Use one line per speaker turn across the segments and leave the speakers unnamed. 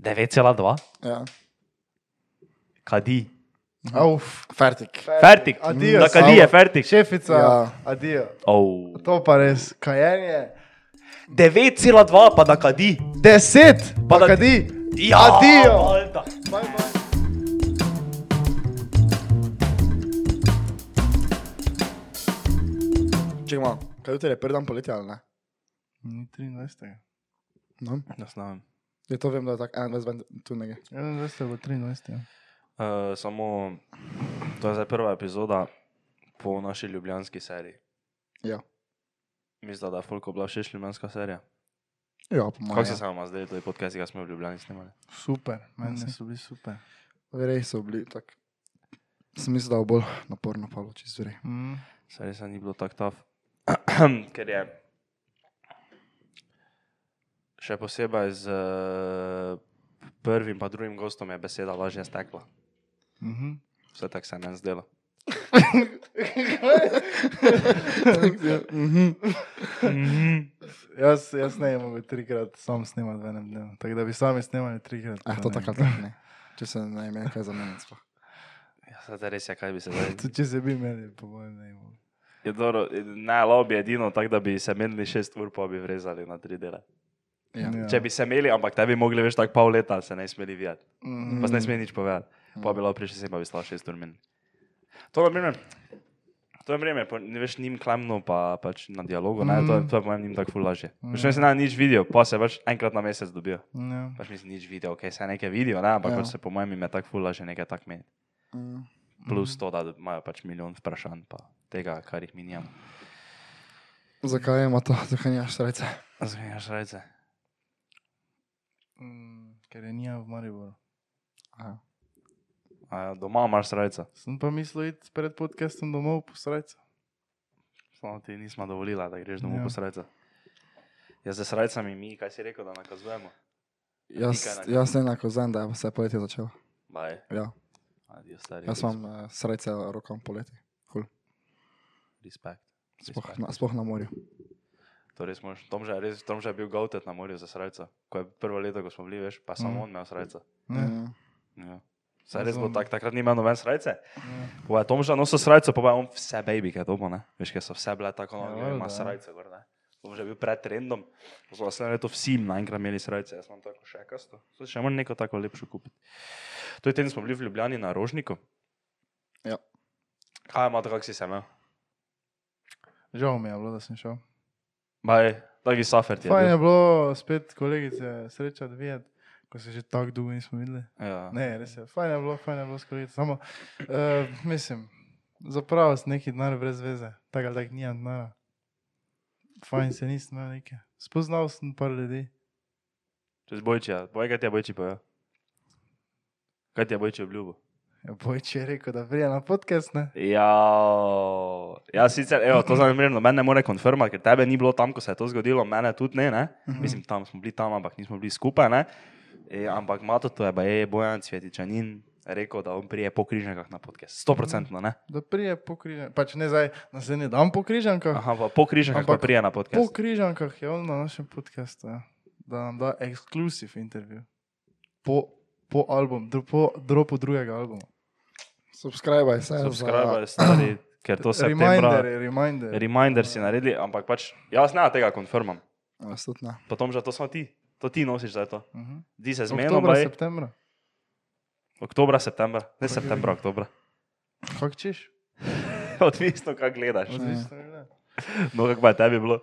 9,2,
Ja.
kadi.
Uf,
Fertik.
Fertik,
Adijo,
da kadi je
Savo.
fertik.
šefica,
Ja.
ja. adijo.
Oh.
To pa res, kajenje.
9,2 pa da kadi.
Deset,
Pa
pa
da-
kadi.
Ja,
Adijo.
valjda.
Bye, bye.
Če imamo, kaj jutri je prvi dan poletja ali ne?
Ni 23.
No.
Ne znam.
Je to vem, da je tako 21 tu nekaj.
Ja, 21 bo 23.
Uh, samo to je zdaj prva epizoda po naši ljubljanski seriji.
Ja.
Mislim, da je Folko bila všeč ljubljanska serija.
Ja, po
Kako
mojem.
se vam zdaj, to je podcast, ki ga smo v Ljubljani snimali?
Super, meni
Mislim.
so bili super.
Verjej so bili tako. Sem mislil, da bo bolj naporno palo čez verjej.
Mm.
Saj res ni bilo tako tav. Ker je še posebej z eh, prvim in drugim gostom je beseda lažje stekla.
Mm -hmm.
Vse tako se je meni zdelo.
Jaz, jaz ne imam trikrat, sam snemam v enem dnevu. Tako da bi sami snemali trikrat.
Eh, to tako ali tako ne. Če se ne ime, kaj za meni sploh.
Ja, saj res je, kaj bi se zdaj.
Tudi če se bi imeli, po mojem, ne imamo.
Je dobro, ne, lobby je edino tako, da bi se menili šest ur, pa bi vrezali na tri dele.
Ja.
Ja. Če bi se imeli, ampak te bi mogli več tako pol leta, se ne bi smeli videti.
Mm.
Pa se ne smeli nič povedati. Pa bi bilo prišli sem, pa bi stalo šest ur meni. To je vreme. To je vreme, pa ne veš, njim klamno, pa pač na dialogu, ne, to, je- to je po mojem njim tako ful lažje. Mm. Še ne se na nič vidijo, pa se pač enkrat na mesec dobijo.
Ja.
Pač nisi nič videl, ok, se nekaj vidijo, ne, ampak
Ja.
ja. pač se po mojem jim je tako ful lažje nekaj tak meni.
Mm.
Plus to, da imajo pač milijon vprašanj, pa tega, kar jih mi nimamo.
Zakaj ima to, zakaj nimaš srca?
Zgledaj, šrajce.
Mm, ker je nija v Mariboru.
A, doma imaš srca.
Sem pa mislil iti pred podcastom domov po srcu.
Samo ti nismo dovolili, da greš domov
Ja.
ja. po srca. Jaz z srcami mi, kaj si rekel, da nakazujemo?
Jaz,
Pika na-
jaz enako znam, da je vse poletje začelo.
Baj,
Ja.
adijo stari.
Jaz imam uh, srce rokam poleti.
Respekt.
Sploh
Respekt. Torej
na, sploh na morju.
To res moraš. Tomža, je res, Tomža je bil gautet na morju za srca. Ko je prvo leto, ko smo bili, veš, pa samo
Mhm.
mm. on imel srca.
Ne,
Mm.
Ja. Saj res bo
Razumem.
tak, takrat ni imel noben srca.
ne.
Po je Tomža nosil srca, pa je on vse baby, kaj dobo, ne? Veš, kaj so vse bile tako,
Ja,
no, ja, ima
valjda, ja.
srca, gor, ne? Tomža je bil pred trendom. Ko so naslednje leto vsi naenkrat imeli srca, jaz imam tako še kasto. Zdaj še moram neko tako lepšo kupiti. To je teden smo bili v Ljubljani na Rožniku.
Ja.
Kaj ima, tako si se imel?
Žal mi je bilo, da sem šel.
Baj, taki safer
Ja,
ti je.
Fajn
bil.
je bilo spet kolegice srečati, videti, ko se že tako dolgo nismo videli.
Ja.
Ne, res je, fajn je bilo, fajn je bilo s kolegico. Samo, uh, mislim, zapravo si neki denar brez veze, tako ali tako nijam denara. Fajn se nisem imel neke. Spoznal sem par ljudi.
Čez bojčija, boj kaj ti je bojči pa. ja. Kaj ti je bojči obljubo?
Ja, Bojče je rekel, da prija na podcast, ne?
Ja, ja sicer, evo, to zanimivo, meni ne more konfirmati, ker tebe ni bilo tam, ko se je to zgodilo, mene tudi ne, ne?
Mhm.
Mislim, tam smo bili tam, ampak nismo bili skupaj, ne? E, ampak Mato, to je pa je Bojan Cvetičanin rekel, da on prije po križankah na podcast. Stoprocentno, ne?
Da prije po križankah, pač ne zdaj, naslednji dan po križankah.
Aha, pa po križankah pa
Mhm. Ampak
prije na
Po
podcast.
križankah je on na našem podkastu, ja. da nam da ekskluziv intervju. Po, po, album, dr, po dropu drugega albuma.
Subskrbaj se.
Subscribe, stari, ker to se
Reminder,
je.
je, reminder.
Reminder si naredili, ampak pač, jaz ne tega konfirmam.
Za, jaz tudi ne.
Potem že to smo ti, to ti nosiš za to.
Mhm.
Zdi se zmedno,
Oktobra,
baj.
septembra.
Oktobra, septembra, ne septembra, oktobra.
Kako češ?
Odvisno, kaj gledaš.
Odvisno je.
No, kako pa je tebi bilo?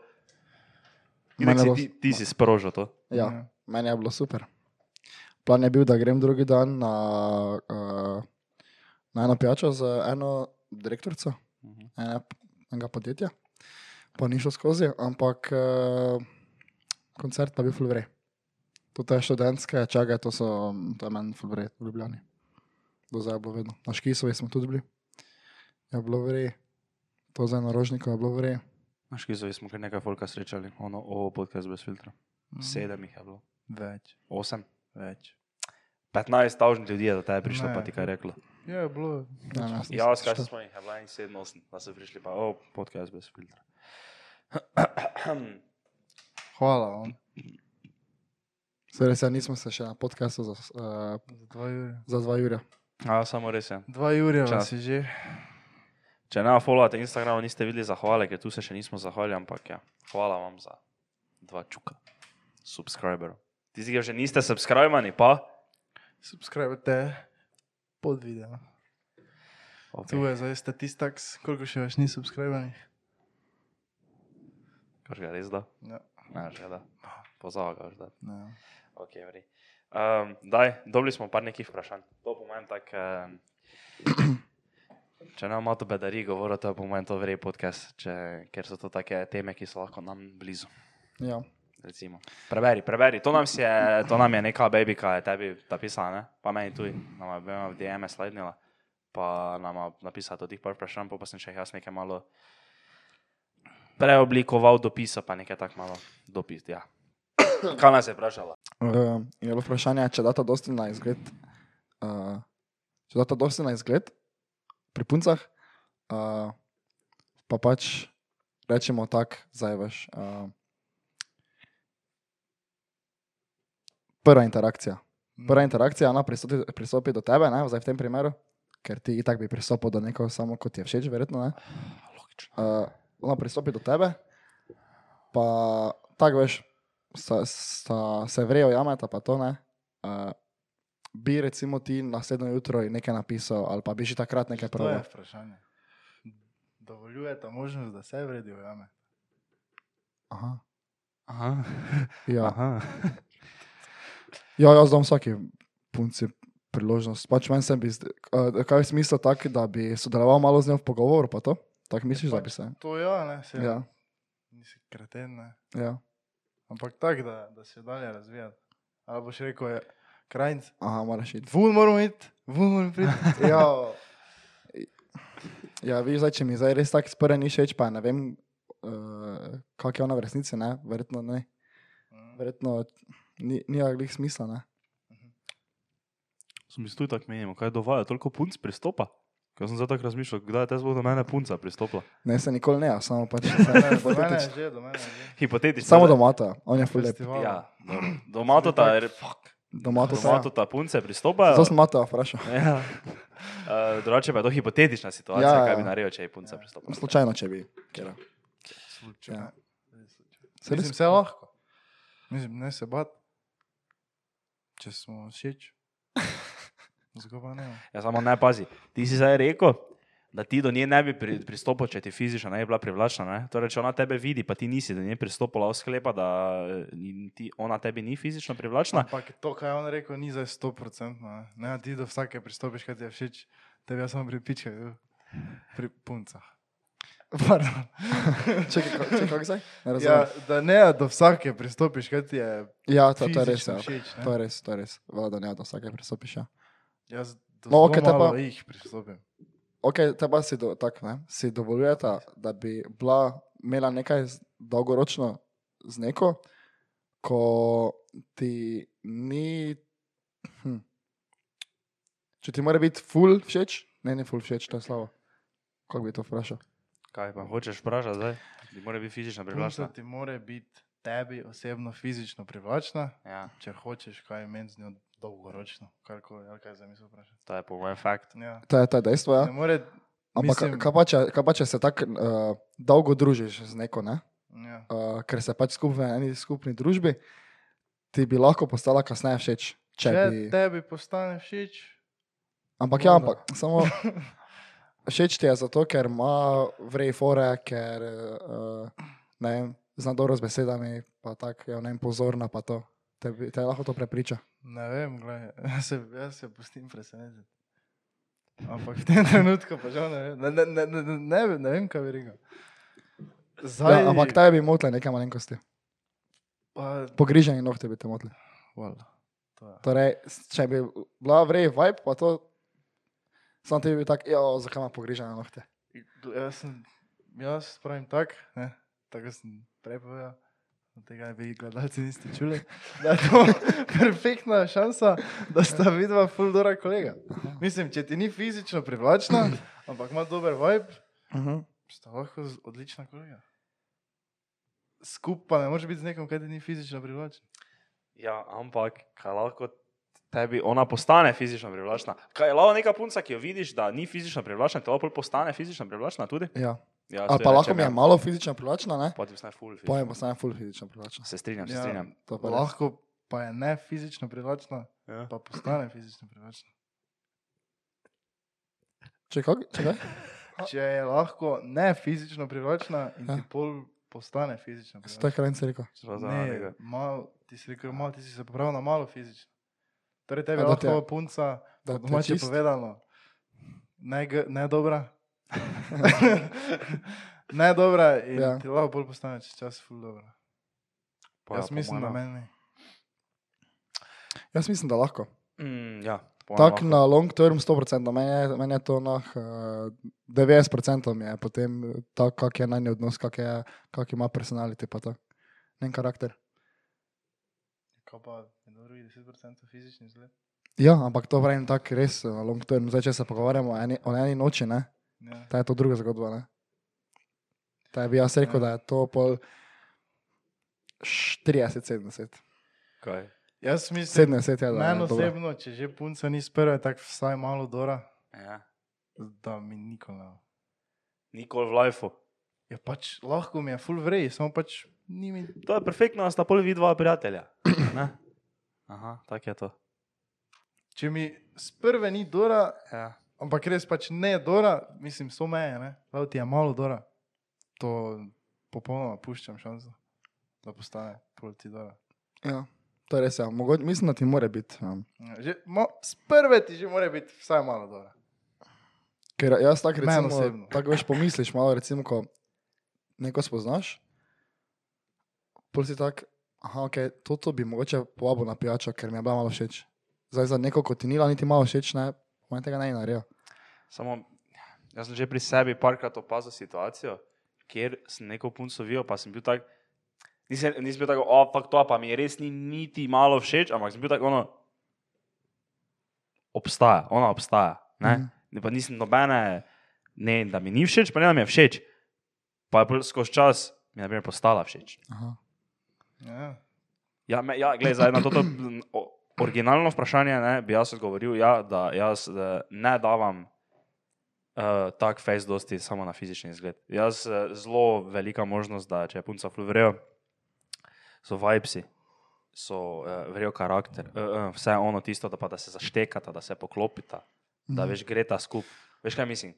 Inak
Mene
si,
bo-
ti, ti si sprožil to.
Ja, meni je bilo super. Plan je bil, da grem drugi dan na, uh, na eno pijačo z eno direktorico
Mhm.
ene, enega podjetja, pa ni šlo skozi, ampak uh, koncert pa je bil fulvre. To te študentske čage, to so to je meni fulvre, v Ljubljani. Do zdaj je bilo vedno. Na Škisovi smo tudi bili, je bilo vre, to za narožniko je bilo vre.
Na Škizovi smo kar nekaj folka srečali, ono, o, podcast brez filtra.
Mm.
Mm.
Sedem jih je bilo,
Več.
osem,
Več.
15 tavžnih ljudi je do tebe prišlo,
Ne.
pa ti kaj reklo.
Ja, je bilo.
Ja, ne,
Ja,
mislim,
skaj
što-
smo jih, je bila in sedem, osem, da so prišli pa, o, podcast brez filtra.
Hvala vam.
Zdaj se nismo se še na podkastu za, uh,
Za dva jurja.
za dva jurja.
A, samo res je.
Dva jurja
Čas.
vas je že.
Če ne followate Instagrama, niste videli zahvale, ker tu se še nismo zahvalili, ampak ja, hvala vam za dva čuka, subscriberov. Tisti, ki še niste subskrbani, pa.
Subskrbite pod video. Tu
Okay.
je zdaj statistik, koliko še več ni subskrbani.
Kar ga res da.
Ja.
Ne, že da. Pozava ga že da.
Ja.
Ne.
Okay, v redu. um, daj, dobili smo par nekih vprašanj. To pomeni tako. Um, Če nam malo bedari govorijo, to je po mojem to vrej podcast, če, ker so to take teme, ki so lahko nam blizu.
Ja.
Recimo. Preberi, preberi. To nam, si je, to nam je neka baby, ki je tebi napisala, ne? pa meni tudi, nam je bila v DM slednila, pa nam je napisala tudi par vprašanj, pol pa sem še jaz nekaj malo preoblikoval dopisa, pa nekaj tako malo dopis. Ja. Kaj nas je vprašala?
Uh, je bilo vprašanje, če data dosti na izgled. Uh, če data dosti na izgled pri puncah, uh, pa pač rečemo tako, zdaj veš. Uh, prva interakcija.
Mm.
Prva interakcija, ona pristopi, pristopi do tebe, ne, zdaj v tem primeru, ker ti itak bi pristopil do nekoga samo kot ti je všeč, verjetno. Ne.
Ah,
Logično.
uh, ona pristopi do tebe, pa tako veš, sta, sta, se vrejo jameta, pa to ne. Uh, bi recimo ti naslednjo jutro ji nekaj napisal, ali pa bi že takrat nekaj
To je
pravil.
vprašanje. Dovoljujete možnost, da se vredijo ja, jame.
Aha,
Aha.
Ja.
Aha.
ja, jaz dam vsaki punci priložnost. Pač meni se bi, zd- uh, kaj je smisel tak, da bi sodeloval malo z njo v pogovoru, pa to? Tako misliš, da bi se?
To ja, ne, se
Ja,
nisi kreten, ne.
ja.
Ampak tako, da, da se dalje razvija. Ali boš rekel, je krajnc,
Aha, moraš iti.
vun moramo iti, vun moramo priti.
Ja, ja viš, zdaj, če mi zdaj res tako sprve ni všeč, pa ne vem, uh, kak je ona v resnici, ne? verjetno ne. Verjetno ni, ni glih smisla. Ne?
Sem jaz tudi tako menil, kaj dovaja, toliko punc pristopa. Ker sem zdaj tako razmišljal, kdaj je te zelo do mene punca pristopila.
ne, se nikoli ne, samo pač.
Do mene je
hipotetično.
že, do mene je že.
Hipotetično.
samo
zdaj-
doma, on je fulep.
Festival.
Ja, dobro. doma to ta,
Doma to
doma to
samo.
ta punce pristopajo.
Zato sem Mato vprašal.
Ja. Uh, drugače pa je to hipotetična situacija,
Ja,
ja,
ja.
kaj bi naredil, če je punca ja. pristopila.
Slučajno, če bi. Kera. Ja. Se
Mislim,
res,
vse lahko. Mislim, ne se bat, če smo všeč. Zgopa ne.
Ja, samo ne pazi. Ti si zdaj rekel, da ti do nje ne bi pri, pristopil, če ti fizično ne bi bila privlačna. Ne? Torej, če ona tebe vidi, pa ti nisi do nje pristopila, od sklepa, da eh, ni- ti, ona tebi ni fizično privlačna.
Ampak to, kar je on rekel, ni za 100%. Ne, ne ti do vsake pristopiš, kaj ti je všeč, tebi jaz samo pripičkaj, pri puncah. Pardon.
čekaj, ka- čekaj, kako zdaj? Ne razumem.
Ja, da ne, do vsake pristopiš, kaj ti je
Ja, to, to je res.
fizično
Ja.
všeč. ne.
To je res, to je res. Vlada ne, da vsake pristopiš. Ja.
Jaz do
No,
no,
okej,
okay,
te pa-
pa... jih pristopim.
Ok, teba si, do, tak, ne, si dovoljujeta, da bi bila, imela nekaj z- dolgoročno z neko, ko ti ni. Hm, če ti mora biti ful všeč, ne, ne ful všeč, to je slabo. Kako bi to vprašal?
Kaj pa hočeš vprašati zdaj? Ti mora biti fizično
Privlačna
privlačna.
ti mora biti tebi osebno fizično privlačna,
Ja,
če hočeš kaj imeti z njo dolgoročno, karkoli, ali kaj za misel vprašati.
to je po mojem fakt.
Ja.
To je, to je dejstvo, ja.
Ne more,
Ampak ka-
mislim-
kaj pa, če- kaj pa, če se tako uh, dolgo družiš z neko, ne?
ja.
uh, ker se pač skupaj v eni skupni družbi, ti bi lahko postala kasneje všeč. Če
Če
bi...
tebi postane všeč,
Ampak ja,
Voda.
ampak samo všeč ti je zato, ker ima vrej fore, ker uh, ne vem, zna dobro z besedami, pa tako je ne vem, pozorna, pa to. Te, bi- te lahko to prepriča.
ne vem, gledaj, jaz se, jaz se pustim presenetiti. Ampak v tem trenutku pa žal ne vem, ne, ne, ne, ne, ne, vem- ne vem, kaj bi rekel. Zdaj,
Ja, ampak te bi motile nekaj malenkosti.
pa,
Pogriženi nohti bi te motili.
valjda, to je.
Torej, s- če bi bila vrej vibe, pa to. Sam ti bi bil tak, jo, zakaj ima pogrižene nohte.
Jaz, sem, jaz pravim tak, ne, tako sem prej povedal, da tega vi gledalci niste čuli, da je to perfektna šansa, da sta vidva full dora kolega. Mislim, če ti ni fizično privlačna, ampak ima dober vibe,
Uh -huh.
sta lahko z- odlična kolega. Skupaj ne moreš biti z nekom, kaj ti ni fizično privlačen.
Ja, ampak kaj lahko tebi ona postane fizično privlačna? Kaj je lahko neka punca, ki jo vidiš, da ni fizično privlačna, ti lahko pol postane fizično privlačna tudi?
Ja.
Ja,
Ali pa lahko mi je malo fizično privlačna, ne?
Pa ti vstaj ful. fizično.
Pojem, postane full fizično privlačna.
no. Se strinjam, se
Ja.
strinjam.
To pa
Pa
lahko.
lahko pa je ne fizično privlačna,
Ja.
pa postane fizično privlačna.
Če kaj? Če kaj?
Če je lahko ne fizično privlačna in
Ja.
ti pol postane fizično
Se to
privlačna.
je krajnce rekel.
Zelo zanimivo.
Ne, malo, ti si rekel, malo, ti si se popravil na malo fizično. Torej, tebi
A
je
da te-
lahko punca,
da
da
te
domače
čist-
povedano, ne, g- ne dobra. ne dobra in
Ja.
ja. ti lahko bolj postane čez čas ful dobra. Pa,
ja,
Jaz mislim,
no.
da meni.
Jaz mislim, da lahko.
Mm, ja, po mojem
Tako
lahko.
na long term 100%, meni je, meni je to nah, eh, 90% mi je potem tako, kak je na nje odnos, kak, je, kak ima personality, pa to. Njen karakter.
Kaj pa je dobrih 10% fizični izgled?
Ja, ampak to pravim tako res eh, na long term. Zdaj, če se pogovarjamo o eni, o eni noči, ne,
Ja.
ta je to druga zgodba. Ne. Ta bi jaz rekel, da je to pol 40, 70.
Kaj?
Jaz mislim,
70 je, da
meni
je dobro.
osebno, če že punca ni sprva, tako vsaj malo dora,
Ja.
da mi nikoli ne.
Nikoli v lifeu.
Ja, pač lahko mi je full vrej, samo pač ni mi.
To je perfektno, da sta pol vidva prijatelja. Ne? Aha, tako je to.
Če mi sprve ni dora,
Ja.
ampak res pač ne dora, mislim, so meje, ne. Prav ti je malo dora, to popolnoma puščam šanso, da postane proti dora.
Ja, to je res, ja. Mogoče, mislim, da ti more biti. Um,
Ja, Že, mo, sprve ti že mora biti vsaj malo dora.
Ker jaz tako
Meni
recimo,
osebno.
tako veš pomisliš malo, recimo, ko neko spoznaš, pol si tak, aha, ok, to, to bi mogoče povabil na pijačo, ker mi je bila malo všeč. Zdaj za neko kotinila niti malo všeč, ne, manj tega ne naredijo.
Samo, jaz sem že pri sebi parkrat opazil situacijo, kjer sem neko punco videl, pa sem bil tak, nisem, nisem bil tako, o, pa to pa mi je res ni niti malo všeč, ampak sem bil tako, ono, obstaja, ona obstaja.
Mhm.
Ne? Mm. Pa nisem nobene, ne, da mi ni všeč, pa ne, da mi je všeč. Pa je pol skozi čas mi je na primer postala všeč.
Aha.
Ja.
Ja, me, ja gled, zdaj, na to, to m, o- originalno vprašanje ne, bi jaz odgovoril, ja, da jaz eh, ne davam uh, tak face dosti samo na fizični izgled. Jaz eh, zelo velika možnost, da če je punca fluvrejo, so vibesi, so uh, vrejo karakter, uh, uh, vse ono tisto, da, pa, da se zaštekata, da se poklopita, da veš, gre ta skup. Veš, kaj mislim?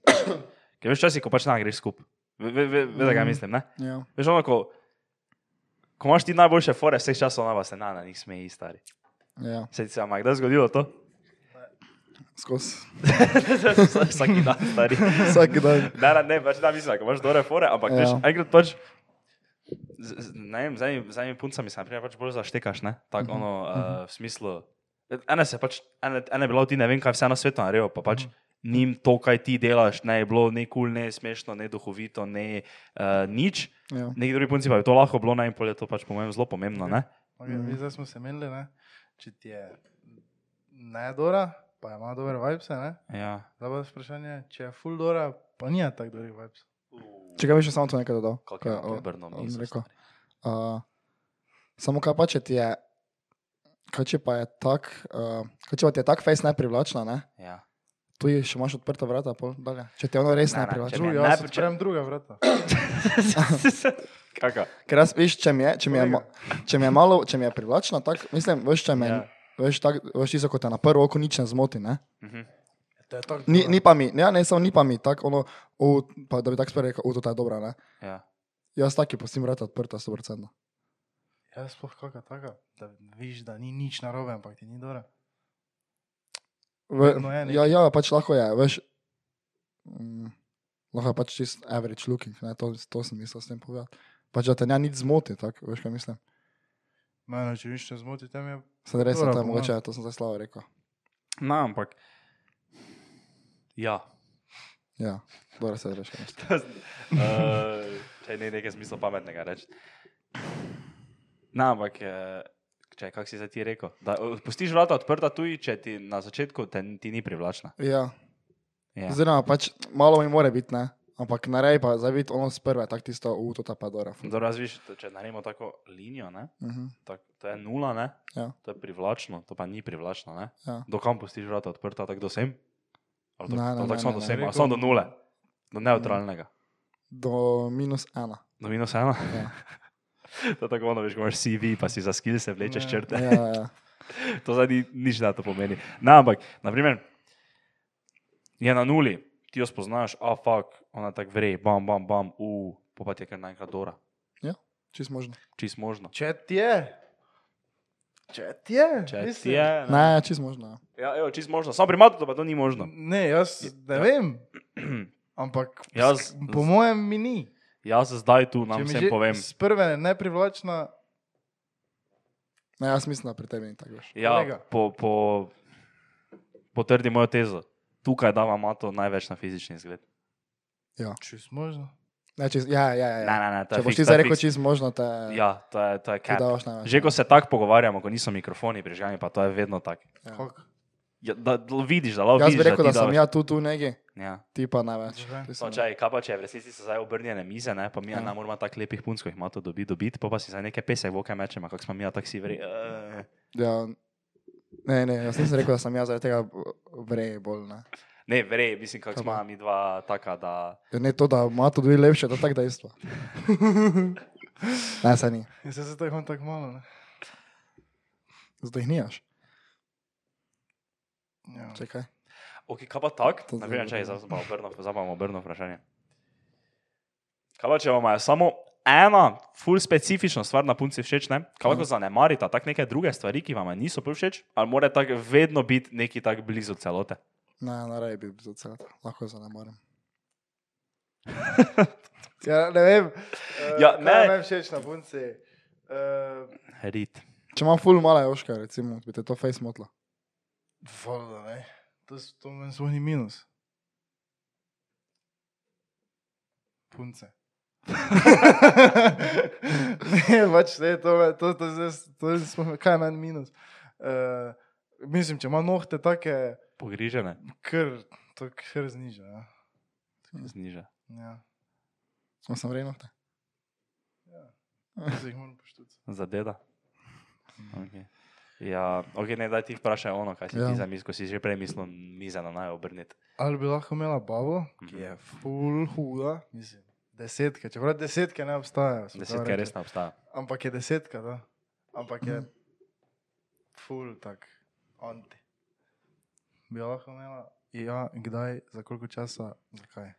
Ker veš, včasih, ko pač ne greš skup. Ve- ve- ve- Veš, kaj mislim, ne?
Ja.
Veš, ono, ko, ko imaš ti najboljše fore, vseh časov na vas se na, na njih smeji, stari.
Ja,
Se ti je ampak kdaj zgodilo to?
skozi.
Vsak dan, stari.
Vsak dan.
Ne, ne, ne, pač da mislim, ko imaš dobre fore, ampak veš,
Ja.
enkrat pač. z- z- Ne vem, z enimi- z enimi puncami se na primer pač bolj zaštekaš, ne? Tako
Mhm.
ono, uh, v smislu. Ena se pač, ena, ena je bila ti ne vem kaj vse na svetu naredil, pa pač
Mhm.
njim to, kaj ti delaš, ne je bilo ne kul, cool, ne smešno, ne duhovito, ne uh, nič.
Ja.
Neki drugi punci pa je to lahko bilo, ne, in pol je to pač po mojem zelo pomembno, ne?
Okay,
Mhm.
mm. Zdaj smo se menili, ne? če ti je ne dora, pa ima dobre vibes, ne?
Ja.
Zdaj pa je vprašanje, če je full dora, pa ni tako dobrih vibes.
Če ga veš, samo to nekaj dodal.
Kako
ko
je
je Ja, o-
obrno
on
mizo,
rekel.
stari.
Uh, samo kaj pa če ti je, kaj če pa je tak, uh, kaj če pa ti je tak face neprivlačna, ne?
Ja.
Tu je še imaš odprta vrata, pol dalje. Če ti je ono res
Ne, ne,
ne
če mi
privlači.
je
Drugi, jaz
najprej-
sem sprem druga vrata.
Kaka?
Ker jaz veš, če mi je, če mi je, ma- če mi je malo, če mi je privlačna, tako mislim, veš, če me je.
Ja.
Veš, tak, veš tisto, ko te na prvo oko nič ne zmoti. Ne?
Ja,
To je tako
Ni,
dora.
ni pa mi, ja, ne, samo ni pa mi, tako ono, u, pa, da bi tako spet rekel, u, to je dobra. Ne?
Ja.
Jaz taki postim vrata odprta, 100%.
Jaz Ja, sploh kakšna taka, da vidiš, da ni nič narobe, ampak ti ni dora.
V,
Vedno je nekaj.
ja, ja, pač lahko je, veš. Mm, lahko je pač čist average looking, ne, to, to sem mislil s tem povedati. Pač da te ne nič zmoti, tako veš, kaj mislim.
Mene, če nič ne zmoti, tam je.
Sedaj res,
Dobra,
to je
po
mogoče, to sem zdaj slabo rekel.
No, ampak. Ja.
Ja, dobro se reče. kaj mislim.
uh, če ne nekaj smisla pametnega reči. No, ampak. eh, Če, kak si zdaj ti rekel? Da, eh, pustiš vrata odprta tuji, če ti na začetku te, ti ni privlačna.
Ja.
Ja.
Oziroma, pač malo mi more biti, ne? Ampak naredi pa, zdaj vidi ono z prve, tako tisto, u, to ta Pandora. ful.
Zdaj, razviš, če naredimo tako linijo, ne?
Mhm.
Tak, to je nula, ne?
Ja.
to je privlačno, to pa ni privlačno. Ne?
Ja.
Do kam pustiš vrata odprta, tako do sem? Ali do-
Ne, ne,
ali
ne,
tako samo
ne,
do
ne.
sem,
Rekel-
ali samo do nule, do neutralnega.
Do minus ena.
Do minus ena.
Ja.
to je tako ono, veš, ko imaš CV, pa si za skil se vlečeš
Ja.
črte.
Ja, ja, ja.
to zdaj ni, nič da to pomeni. Na, ampak, naprimer, je na nuli, ti jo spoznaš, a fuck, ona tako vre, bam, bam, bam, u, pa pa ti je kar naenkrat dora,
Čist možno.
čist možno.
Če ti je. Če ti je.
Če ti
mislim.
je, ne.
Ne, čist možno. ja.
Ja, evo, čist možno, samo pri matu pa to ni možno.
Ne, jaz ne
no. Ja.
vem. Ampak
Jaz-
sk- po mojem mi ni.
Jaz zdaj tu
Če
nam
mi
vsem
že
povem.
S prve neprivlačna.
Ne, jaz mislim, da pri tebi ni tako veš.
Ja,
kolega.
po, po, potrdi mojo tezo. Tukaj dava mato največ na fizični izgled.
Če možno.
Ne, čist, ja, ja, ja.
Ne,
ja.
ne, ne, to je
Če boš
fiks,
ti
to je
zdaj rekel
fiks.
čist možno, te
Ja, to je, to je
ti
cap.
davaš največ.
Že ko se tako pogovarjamo, ko niso mikrofoni prižgani, pa to je vedno tako.
Ja.
Kako?
Ja, da, da vidiš, da lahko
Jaz bi
vidiš,
rekel,
ti
da sem
davaš-
ja tu, tu nekje,
Ja.
ti pa največ.
Zakaj?
Ti si-
No, čaj, kaj pa če je v resnici so zdaj obrnjene mize, ne? pa mi ja.
Ja.
ne moramo tako lepih punc, ko jih ima to dobi, dobiti, pa pa si za neke pesek voke mečemo, kako smo mi ja taksi vri. eh.
Ja. Ne, ne, jaz nisem rekel, da sem jaz zaradi tega vrej bolj. Ne.
Ne, vre, mislim, kako smo
Kako?
mi dva taka, da...
Ja, Ne to, da ima to dve lepše, to je tako dejstvo. Ne, se ni.
Jaz se zdaj imam tako malo. Ne?
Zdaj jih nijaš.
Ja.
Čakaj.
Ok, kaj pa tak?
To zdaj
Naprimer,
bo
če je
dobro.
zdaj pa obrno, zdaj pa obrno vprašanje. Kaj pa če vam je samo ena ful specifična stvar na punci všeč, ne? Kaj lahko zanemarite, tako neke druge stvari, ki vam niso prav všeč, ali mora tako vedno biti neki tak blizu celote?
Ne, naraj bi bil za celata, lahko zanemarjam.
Ja, ne vem.
Ja,
Eh, kaj
ne.
je meni všeč na punci. Uh,
Rit.
Če imam full mala joška, recimo, bi te to face motlo.
Voda, ne. To, s- to meni zvoni minus. Punce. ne, pač ne, to, me- to, to, to, to, to kaj je meni minus. Uh, mislim, če ima nohte take,
Pogrižene.
kr, to kr zniža. Ja.
Zniža.
Ja,
Sem sem rejno.
to se jih moram poštuti.
Za deda. Okay. Ja, ok, ne da ti vprašaj ono, kaj si ja.
Ja.
ti zamislil, ko si že prej mislil, miza na naj obrniti.
Ali bi lahko imela babo, ki
Mhm.
je full huda, mislim, desetke, čeprav desetke ne obstajajo. sem prav
Desetka
rekel.
res ne obstaja.
Ampak je desetka, da. Ampak
Mhm.
je full tak, anti. Bi jo lahko imela, ja, kdaj, za koliko časa, zakaj.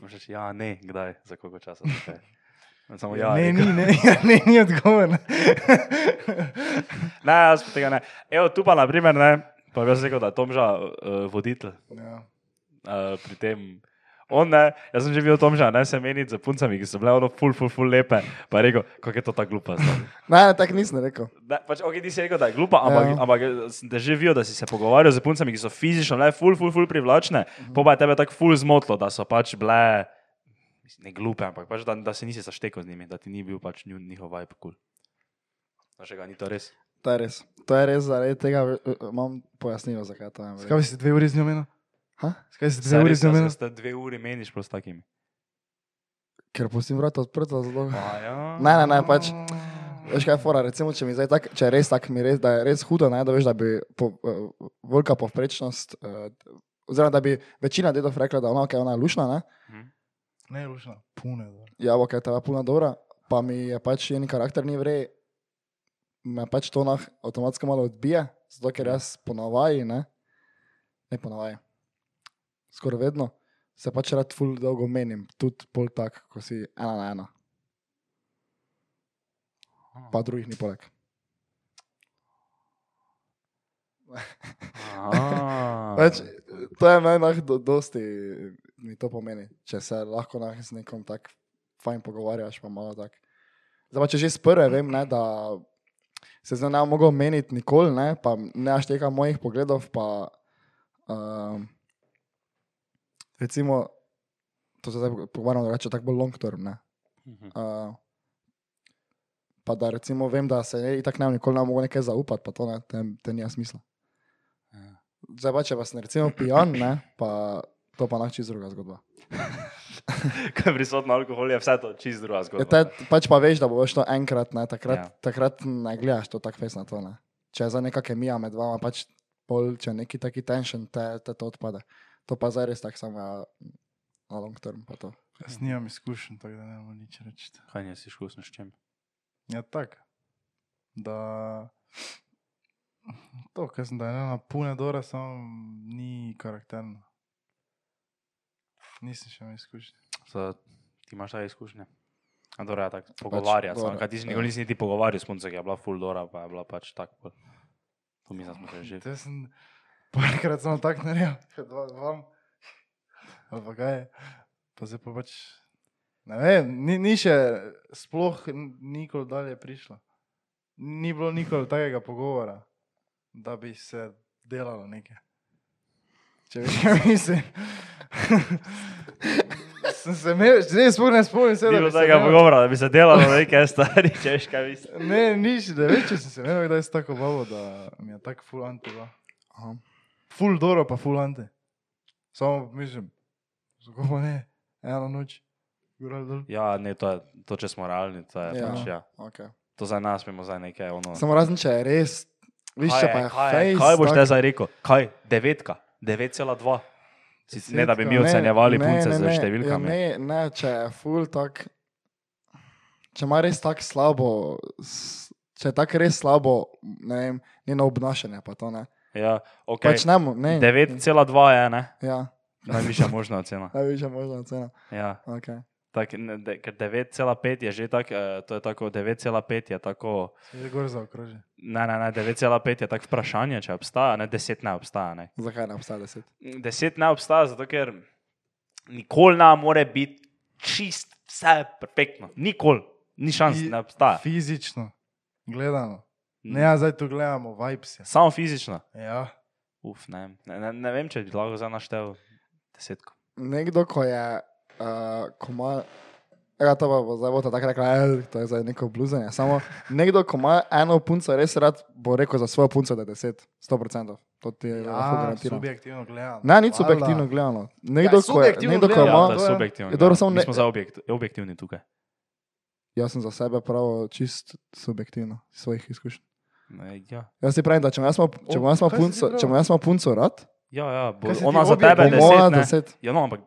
Možeš reči, ja, ne, kdaj, za koliko časa. zakaj. Samo ja,
ne,
rekel.
ni, ne, ja, ne, ni odgovor.
Ne, jaz pa tega ne. Evo, tu pa, na primer, ne, pa bi jaz rekel, da je Tomža uh, voditelj
ja.
uh, pri tem. On ne, jaz sem že bil Tomža, ne se meniti z puncami, ki so bile ono ful, ful, ful lepe. Pa je rekel, kako je to ta glupa. zdaj."
Ne, ne, tako nisem rekel.
Ne, pač, ok, ti si rekel, da je glupa, ampak, ja.
Ja.
ampak sem te že videl, da si se pogovarjal z puncami, ki so fizično le ful, ful, ful privlačne. Mhm. Pa pa je tebe tako ful zmotilo, da so pač bile. mislim, Ne glupe, ampak pač, da, da se nisi zaštekel z njimi, da ti ni bil pač njun- njihov vibe kul. Cool. Znaš, ga ni to res.
To je res. To je res zaradi tega, eh, eh, imam pojasnilo, zakaj to
Skaj
imam.
bi si dve uri z njo imela?
Ha?
Skaj si dve
Saj
uri
res,
z njo
da
imela?
se sta dve uri meniš prav s takimi.
Ker pustim vrata odprta zelo dolgo.
Pa ja.
Ne, ne, ne, pač. Veš kaj je fora, recimo, če mi zdaj tak, če je res tako, mi res, da je res hudo, ne, da veš, da bi po, uh, velika povprečnost, uh, oziroma da bi večina dedov rekla, da ona, okay, ona je lušna, ne,
Ne, rušna, pune. Da.
ja, ok, ta je puna dobra, pa mi je pač njen karakter ni vrej, me pač to nah avtomatsko malo odbije, zato ker jaz ponavaji, ne, ne ponavaji, skoraj vedno, se pač rad ful dolgo menim, tudi pol tak, ko si ena na ena, pa drugih ni poleg. Pač, to je meni lahko do, dosti, mi to pomeni, če se lahko nah z nekom tako fajn pogovarjaš, pa malo tako. Zdaj pa če že iz prve vem, ne, da se zdaj ne bom mogel meniti nikoli, ne, pa ne ašteka mojih pogledov, pa um, recimo, to se zdaj pogovarjamo, da reče tako bolj long term, ne. Uh, pa da recimo vem, da se ne, itak ne bom nikoli ne bom mogel nekaj zaupati, pa to ne, te, te nima smisla. Zdaj pa če vas ne recimo pijan, ne, pa To pa lahko čisto druga zgodba.
Ko je prisotno alkohol, je vse Ja, to čist druga
Je,
zgodba.
te, pač pa veš, da boš to enkrat, ne, takrat,
Ja.
ja. takrat ne gledaš to tako fez na to. Ne. Če je za neka kemija med vama, pač pol, če je neki taki tension, te, te to odpade. To pa zdaj res tako samo ja, na long term. pa to.
Jaz nimam izkušenj, tako da ne morem nič reči.
Kaj nisi škusno s čim?
Ja, tako. Da. To, kar sem da je ena pune dora, samo ni karakterno. Nisem še imel izkušenj.
Za, ti imaš take izkušnje? A Dora je tako
Pač
pogovarja, pač,
Dora,
samo kaj ti si
ja.
nikoli nisi niti pogovarjal s punco, ki je bila full Dora, pa je bila pač tako. bolj- To mi smo se že.
Hm, To sem parkrat samo tako naredil, kot va- vam. Ali pa kaj je. Pa zdaj pa pač. Ne vem, ni, ni še sploh n- nikoli dalje prišlo. Ni bilo nikoli takega pogovora, da bi se delalo nekaj. Če veš, kaj mislim. sem se imel, zdaj sploh ne spomnim, se
Ni
da
bilo
bi se
tega
imel.
pogovora, da bi se delalo nekaj stari, če veš kaj misliš.
Ne, nič, da več, če sem se imel kdaj s tako babo, da mi je tako full anti bila.
Aha.
Full doro, pa full ante. Samo mislim, zakaj pa ne, ena noč, gor ali dol.
Ja, ne, to, je, to če smo realni, to je
Ja.
ja. pač ja.
Okay.
To za nas imamo zdaj nekaj ono.
Samo razen če je res, viš
Kaj
če
je,
pa je
kaj, je,
fejs.
kaj boš te
tak-
zdaj rekel? Kaj? Devetka, 9,2. Sicer Ne, da bi mi
Ne,
ocenjevali
ne,
punce
ne,
z
ne, ja,
številkami.
Ne, ne, če je full tak, če ima res tako slabo, s- če je tako res slabo, ne vem, njeno obnašanje pa to ne.
Ja,
Okay. Pač
okay.
ne, mo- ne.
9,2 je, ne?
Ja,
Najvišja možna ocena.
najvišja možna cena.
Ja.
Okay.
Tak, ne, de, ker 9,5 je že tako, eh, to je tako 9,5 je tako,
Je gor za okrožje.
ne, ne, ne 9,5 je tako vprašanje, če obstaja, ne 10 ne obstaja. Ne.
Zakaj ne obstaja deset?
10 ne obstaja, zato ker nikoli ne more biti čist, vse perfektno, nikoli, ni šans,
I-
ne obstaja.
Fizično, gledano.
Mm.
Ne, ja, zdaj tu gledamo, vibes je.
Samo fizično.
Ja,
Uf, ne, ne, ne, ne vem, če bi lahko zdaj naštel desetko.
Nekdo, ko je, uh, ko ima, ja, to pa bo zdaj bo ta tako rekla, "Ej, to je zdaj neko bluzanje. Samo nekdo, ko ima eno punco, res rad bo rekel za svojo punco, da je deset, sto procentov. To ti je lahko
ja
garantirano.
subjektivno gledano.
Ne, ni
Hvala.
subjektivno gledano. Nekdo,
Ja,
ko je,
subjektivno
nekdo, ko
Ja,
gledano,
ima,
to je
to je-
subjektivno.
je dobro, samo
ja.
ne-
Mi smo za objekt, objektivni tukaj.
jaz sem za sebe prav čist subjektivno, iz svojih izkušenj.
Ne, Ja,
Jaz ti pravim, da če ima jaz ima- če ima jaz ima
kaj si ti
punco, če
pravil?
ima jaz ima punco rad,
ja, ja bo,
Kaj si ti
ona za
objekt-
tebe
bo
Pa
deset,
moja
ne.
deset.
Ja, no, ampak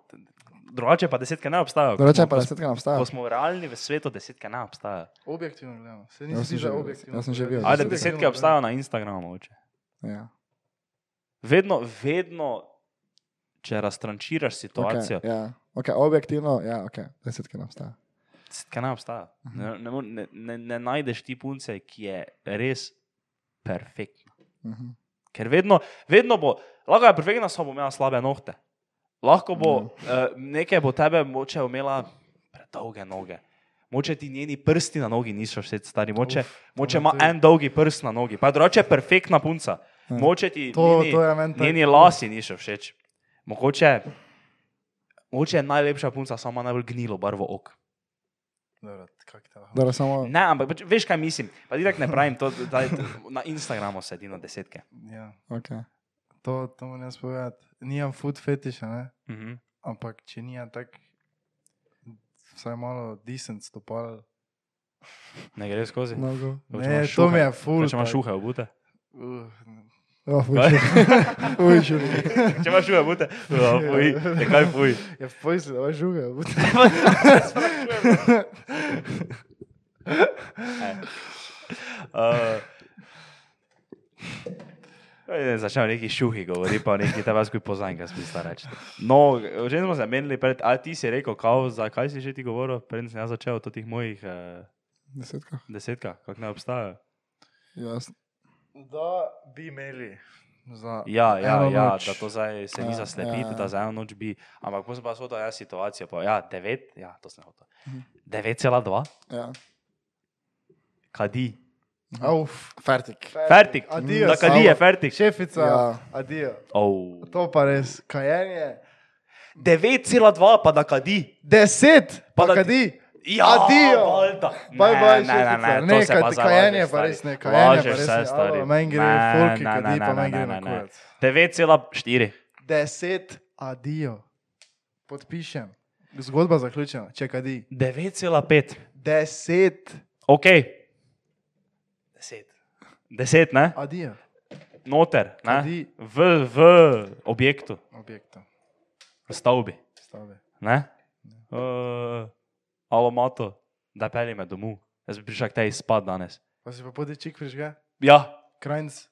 drugače pa desetke ne obstajajo. Ko
Drugače
smo-
pa
ko
desetka ne
smo-
obstaja. Ja,
Ko smo realni v svetu, desetke ne obstajajo.
Objektivno gledano. Se
Jaz
nisi
sem Ja,
že
že bil,
objektivno.
jaz sem že bil.
gledano.
Ajde,
Subjektivno
desetke obstajajo na Instagramu. Mogoče.
Ja.
Vedno, vedno, če raztrančiraš situacijo,
Okay, ja. okay, objektivno, ja, okay. desetke nam sta.
okay. desetke ne obstaja.
Mhm.
Ne, ne, more- ne, ne, ne najdeš ti punce, ki je res perfektna.
Uh -huh.
Ker vedno, vedno bo, lahko je perfektna, samo bo imela slabe nohte. Lahko bo, mm. uh, nekaj bo tebe moče imela predolge noge. Moče ti njeni prsti na nogi niso všeč, stari. Moče,
Uf,
moče
to
ima
me tudi.
en dolgi prst na nogi, pa drugače je perfektna punca.
Mm.
Moče ti
To-
njeni,
to je meni tako.
njeni lasi niso všeč. Mogoče, mogoče je najlepša punca, samo ima najbolj gnilo barvo ok.
Dobro, kako te lahko-
Dobro, samo,
Ne, ampak pač veš, kaj mislim. Pa ti tako ne pravim, to, da, na Instagramu sedi na desetke.
Ja,
okay.
to, to moram jaz povedati. Nimam food fetiša, ne?
Mhm.
ampak če ni tako, vsaj malo decent stopal.
Ne gre skozi.
no, go.
Kaj, če
Ne,
imaš
to
šuhe?
mi je ful.
Kaj, če imaš šuhe obute.
Uh,
Oh,
Kaj?
Ujšu.
če imaš šuhe obute, ja, fuj, je kaj fuj.
je pojsi, da imaš žuge.
Uh, Začnem neki šuhi govoriti, pa neki tebe skupaj poznam, kaj smisla reči. No, že smo se menili pred, a ti si rekel, kao, zakaj si že ti govoril, preden sem jaz začel o teh mojih uh,
Desetka.
desetkah, kak ne obstajajo.
Jaz,
Da bi imeli. Za
Ja, ja,
eno
ja
noč.
da to zdaj se
Ja,
ni zaslepiti,
ja,
ja, ja.
ja.
da za eno noč bi. Ampak potem pa so to jaz situacija, pa ja, 9, ja, to sem hotel.
Mhm.
9,2,
ja.
Kadi.
Auf.
Fertik.
fertik.
Adijo.
Da, kadi je fertik.
Šefica,
Ja.
ja. adijo.
Oh.
To pa res, kajenje.
9,2 pa da kadi.
Deset,
Pa
pa
da ti-
kadi.
Ja,
Adijo.
valjda.
Bye bye,
ne, ne, ne,
šefica.
to
Ne,
se pa
kaj-
zavažeš,
kajenje pa
stari.
res ne, kajenje pa
Lažeš
res
vse,
ne.
stari.
Alo, Meni gre
Ne,
folki,
ne,
kadi
ne,
pa
ne,
meni gre
ne,
na
ne, ne.
kurac.
9,4.
Deset, adijo. Podpišem. Zgodba zaključena. Čekadi.
9,5.
Deset.
Ok,
10.
deset, ne?
Adijo.
Noter, ne?
Adi.
V, v objektu,
Objekta.
v stavbi,
Stave.
ne? Uh, alomato, da pelje me domov. Jaz bi prišel k tej spad danes.
Pa si pa podi čik prižge.
Ja,
Krajnc.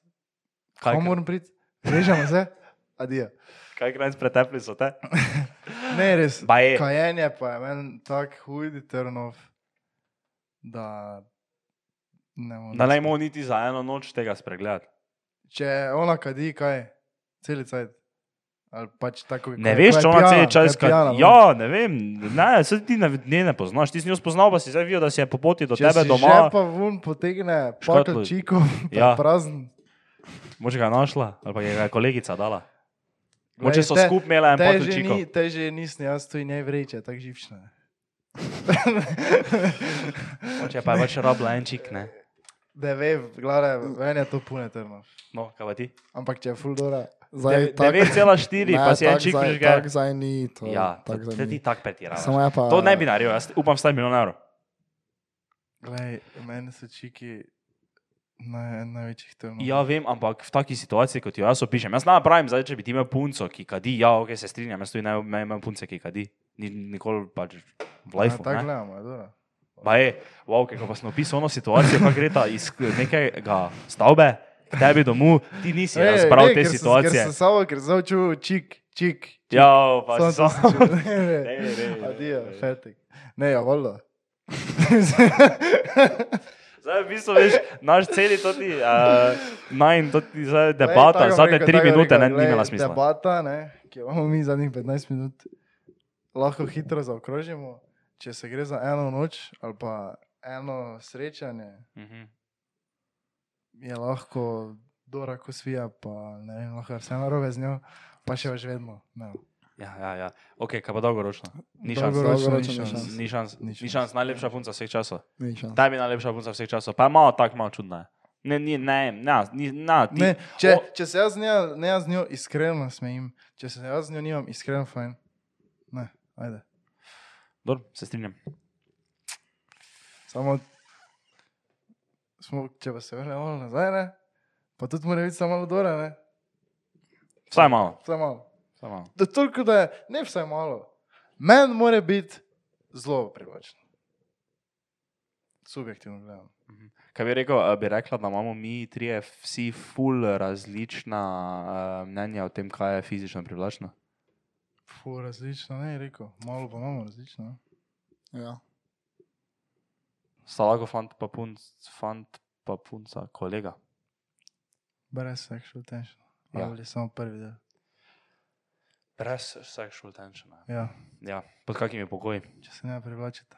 kaj,
Kaj moram priti? Režemo se. Adijo.
kaj kraj pretepli so te?
Ne, res.
Baje.
Kajenje pa je meni tako hudi trnov, da ne morem.
Da ne moremo niti za eno noč tega spregledati.
Če ona kadi, kaj, celice. Ali pač tako bi
Ne veš, če ona celi čas kaj. Ja, ne vem, ne, se ti ne, ne, ne poznaš, ti si njo spoznal, pa si zdaj videl, da si je po poti do
Če tebe
tebe
si
doma.
doma. Pa vun potegne
Škatlo.
škatlo čiko,
Ja.
ja. prazen.
Moče ga je našla, ali pa je ga je kolegica dala.
Glej,
Moče so
te-
skupaj imela en
Te
pot
že,
učikov.
ni, te že nisem, jaz tu in njej vreče, tako živčne.
Moče pa je pač rabila en čik, ne.
Ne vem, glede, ven je to pune trnov.
No, kaj pa ti?
Ampak če je full dora.
Deve-
Zdaj, tak-
9,4,
ne,
pa si en
tak
čik
zdaj-
prižgal.
Tako zdaj ni. To,
Ja, to,
tako zdaj
to
ni.
ti tako pretiravaš.
Samo je pa.
To ne bi naredil, jaz upam, staj milijon evrov.
Glej, meni so čiki na en največjih trnov.
Ja, vem, ampak v taki situaciji, kot jo jaz opišem, jaz ne pravim, zdaj, če bi ti imel punco, ki kadi, ja, ok, se strinjam, jaz tudi ne ne imam punce, ki kadi, Ni, nikoli pač v
Ja,
lifeu.
Tako
ne.
gledamo, je dobro.
Pa je, wow, kako pa sem opisal ono situacijo, kako gre ta iz nekega stavbe k tebi domov, ti nisi
Ej,
razbral
ne,
te
ker sem-
situacije.
Ker sem samo, ker sem samo čutil čik, čik.
Ja, pa
Samo
so.
to sem čutil. Ne, ne.
Ne, ne, ne,
Adijo,
ne.
fertik. Ne, ja, valjda.
Zdaj, v bistvu, veš, naš celi to ti, uh, najn, to ti zdaj debata,
Glej, tako
zadnje
rekel,
tri
tako
minute
rekel,
ne, ni
glej,
imela smisla.
Debata, ne, ki jo imamo mi zadnjih 15 minut, lahko hitro zaokrožimo. Če se gre za eno noč ali pa eno srečanje,
Mhm.
je lahko Dora Kosvija, pa ne vem, lahko je vse narobe z njo, pa še več vedno. Ne.
Ja, ja, ja. Ok, kaj pa dolgoročno? Ni šans.
Dolgoročno
dolgoročno ni
ni šans.
šans.
Ni šans,
Ni
ni
šans.
šans, najlepša punca vseh časov.
Ni šans.
Ta je najlepša punca vseh časov, pa je malo tako, malo čudna. je. Ne, ni, ne, ne, ni, na, ti,
Ne, če,
o-
če se jaz z njo, ne jaz z njo iskreno smejim, če se jaz z njo nimam iskreno fajn. Ne, ajde.
Dobro, se strinjam.
Samo, smo, če pa se vrnemo nazaj, ne? pa tudi mora biti samo malo dora, ne?
Vsaj malo.
Vsaj malo.
Vsaj malo.
Da toliko, da je, ne vsaj malo. Meni mora biti zelo privlačen. Subjektivno gledano.
Kaj bi rekel, eh, bi rekla, da imamo mi trije vsi ful različna uh, mnenja o tem, kaj je fizično privlačno.
Fu, različno, ne, je rekel. Malo pa imamo različno. ne.
Ja.
Salago fant pa punc, fant pa punca, kolega.
Brez sexual tension.
Ja.
Ja. Ali samo prvi del.
Brez sexual tensiona.
Ja,
Ja, pod kakimi pogoji?
če se ne privlačite.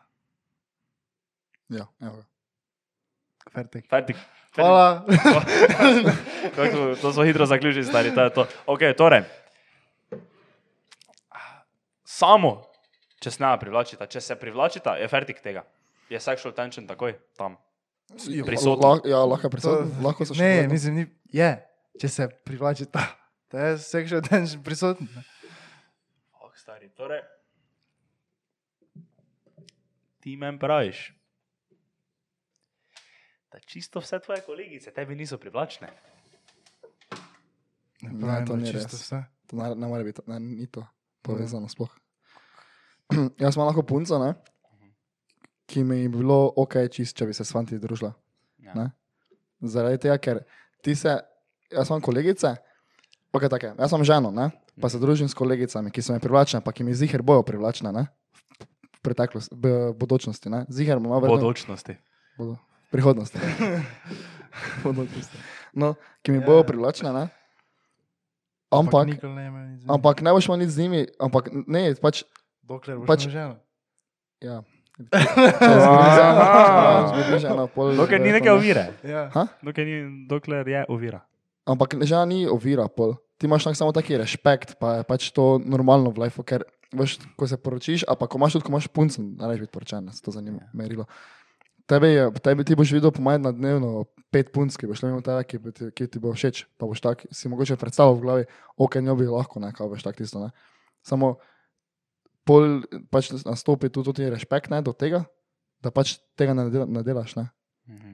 Ja, evo. ga.
Fertik.
Fertik.
Hvala.
Kako, to smo hitro zaključili, stari, to je to. Ok, torej. Samo, če se ne privlačita, če se privlačita, je fertik tega. Je sexual tension takoj tam. Prisotno.
Lah, ja, lahko je prisoten.
To-
Lahko so še.
Ne,
vedno.
mislim, ni, je, če se privlačite. To je sexual tension prisoten. ne.
Oh, stari, torej. Ti meni praviš, da čisto vse tvoje kolegice tebi niso privlačne.
Ne,
Ne, pravim,
to
da
ni
čisto
res.
vse.
To ne, ne more biti, ne, ni to povezano sploh.
Mm.
Jaz imam lahko punco, ne, ki mi je bilo ok, čist, če bi se s fanti družila.
Ja.
Ne? Zaradi tega, ker ti se, jaz imam kolegice, okay, take, jaz imam ženo, ne?
Mhm.
pa se družim s kolegicami, ki so mi privlačne, pa ki mi zihar bojo privlačne. Ne? V preteklosti, v bodočnosti, ne? zihar bomo
V
vedno.
odločnosti.
Bodo. Prihodnosti. Bodočnosti. No, ki mi
Ja,
bojo
ja.
prilačne, ne? Ampak,
nikoli ne imel nič. z njim.
ampak ne boš imel nič z njimi, ampak ne, pač,
dokler boš
pač-
pač, žena.
ja. Če zgodi žena,
Aha.
če zgodi žena, pol
Dokler ni
verjetno
neke
ne.
ovire.
Ja.
Ha?
Dokler, ni, dokler je ovira.
Ampak žena ni ovira, pol. Ti imaš tak samo taki respekt, pa je pač to normalno v lifeu, ker veš, ko se poročiš, a pa ko imaš tudi, ko imaš punce, ne rečeš biti poročen, se to zanima, merilo. Tebe je, tebe ti boš videl pomaj na dnevno pet punc, ki boš le imel tega, ki, bo ti- ki ti bo všeč, pa boš tak, si mogoče predstavljal v glavi, ok, njo bi lahko, ne, kaj veš, tak tisto, ne. Samo pol pač nastopi tudi, tudi respekt ne, do tega, da pač tega ne, dela, ne delaš. Ne.
Mhm.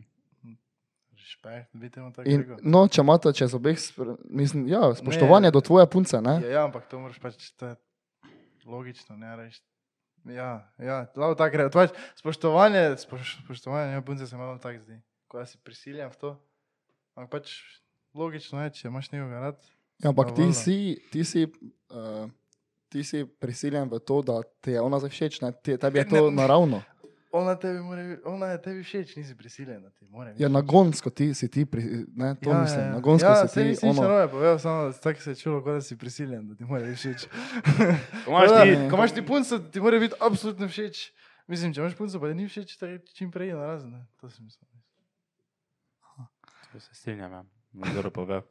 Respekt, bi temu tako
In,
rekel.
no, če imate čez obeh, spr- mislim, ja, spoštovanje ne, do tvoje punce, ne,
Ja, ja, ampak to moraš pač, to je logično, ne reči. Ja, ja, lahko tako rečem. Pač, spoštovanje, spoš, spoštovanje, ne punce se malo tako zdi, ko jaz si prisiljen v to. Ampak pač logično je, če imaš nekoga rad.
ja, ampak
valjda.
ti si, ti, si, uh, ti si prisiljen v to, da ti je ona zdaj všeč, ne, ti, tebi je to
Ne.
naravno.
Ona, tebi mora, biti- ona je tebi všeč, nisi prisiljen, da ti mora. biti
Ja, nagonsko ti si ti, pri, ne, to ja, mislim, ja, nagonsko
ja,
ja,
saj
si
nisi
ti.
nič
Ono,
narobe povedal, samo da- tako se je čulo, kot da si prisiljen, da ti mora biti všeč.
Ko imaš
Tako da,
ti-
Ko imaš ti punco, ti mora biti absolutno všeč. Mislim, če imaš punco, pa ti ni všeč, tako čim prej je narazen. ne. To sem mislil.
To se strinjam, ja. Zelo povedal.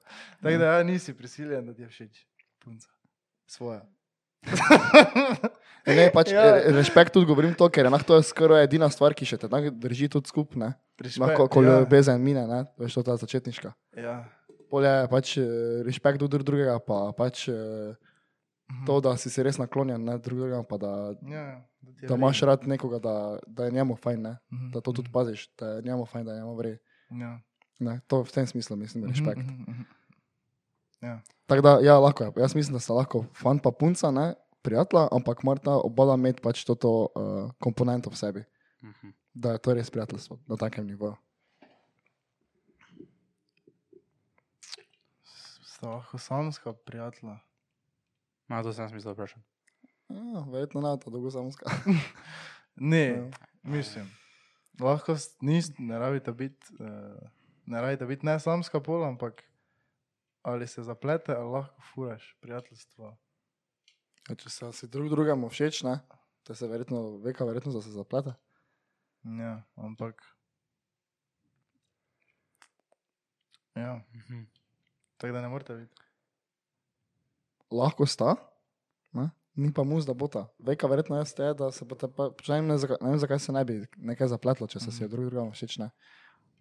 Tako da ja, nisi prisiljen, da ti je všeč punca. Svoja.
ne, pač,
Ja.
ja. Respekt tudi govorim to, ker enak, to je skoraj edina stvar, ki še te tako drži tudi skupaj.
Prišla
Ko, ko ja. ljubezen mine, ne, veš, to je ta začetniška.
Ja.
Polje je pač eh, respekt do drug drugega, pa pač eh, to, da si si res naklonjen ne, drug drugemu, pa da,
Ja, ja, da ti je
da imaš
vredno.
rad nekoga, da, da je njemu fajn, ne,
Mhm,
da to tudi paziš, da je njemu fajn, da je njemu vre.
mhm, ja.
Ne, to v tem smislu mislim, da je respekt.
Mhm, mhm, mhm.
Tako da, ja, lahko je. Jaz mislim, da sta lahko fan pa punca, ne, prijatelja, ampak morata obala imeti pač to uh, komponento v sebi,
Mhm.
da je to res prijateljstvo na takem nivoju.
S- Sta lahko samska prijatelja.
No, to sem jaz mislil vprašati.
Ja, verjetno ne, to dolgo samo Ja. skala.
Ne, mislim. Lahko s- nis, ne rabite biti, uh, ne rabite biti ne samska pola, ampak ali se zaplete, ali lahko furaš prijateljstvo.
Če se si drug drugemu všeč, ne, te se verjetno, veka verjetno, da se zaplete.
Ja, ampak. Ja,
Mhm.
tako da ne morete biti.
lahko sta, ne? ni pa muz, da bo ta. Velika verjetnost je, da se bo te, pa, pač ne, vem, ne, zaka- ne vem, zakaj se ne bi nekaj zapletlo, če se mm. drug drugemu všeč ne.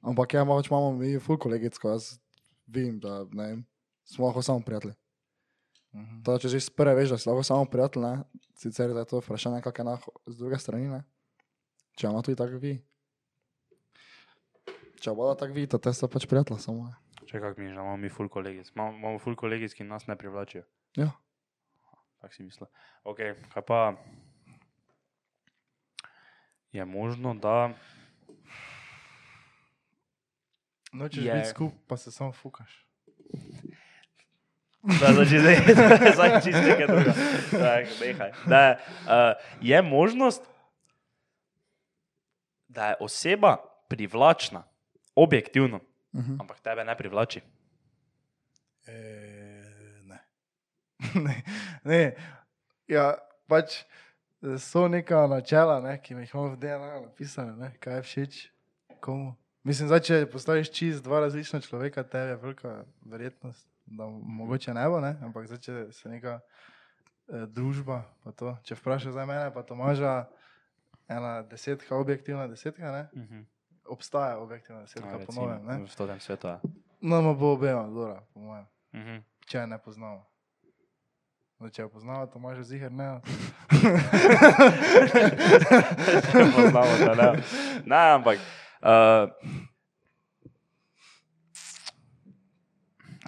Ampak ja, malo več imamo mi ful kolegicko, jaz vem, da ne vem, smo lahko samo prijatelji.
Mhm.
To, če že iz prve veš, da si lahko samo prijatelj, ne? sicer je to vprašanje, kako je na, z druge strani. Ne? Če ima tudi tako vi. Če bo tako vi, to te sta pač prijatelja samo. Ne?
Če kak mi že, imamo mi ful kolegic. Imamo, imamo ful kolegic, ki nas ne privlačijo.
Ja.
Tako si mislil. Ok, kaj pa je možno, da
Nočeš
Je.
yeah. biti skupaj, pa se samo fukaš.
Da, znači zdaj, zdaj čisto nekaj drugega. Tako, nehaj. Da, uh, je možnost, da je oseba privlačna, objektivno,
Uh
Mhm.
-huh.
ampak tebe ne privlači.
E, ne. ne. ne. Ja, pač eh, so neka načela, ne, ki mi jih imamo v DNA napisane, ne, kaj je všeč, komu. Mislim, da če postaviš čist dva različna človeka, tebi je velika verjetnost, da m- mogoče ne bo, ne? ampak zdaj, če se neka eh, družba, pa to, če vprašaš za mene, pa Tomaža, ena desetka, objektivna desetka, ne?
Uh -huh.
obstaja objektivna desetka, po novem. ne.
v tem svetu. Uh
Nama bo obema, Dora, po mojem
-huh.
če je ne poznamo. No, če jo poznamo, to imaš zihar ne.
Poznamo se, ne. Ne, ampak. Uh,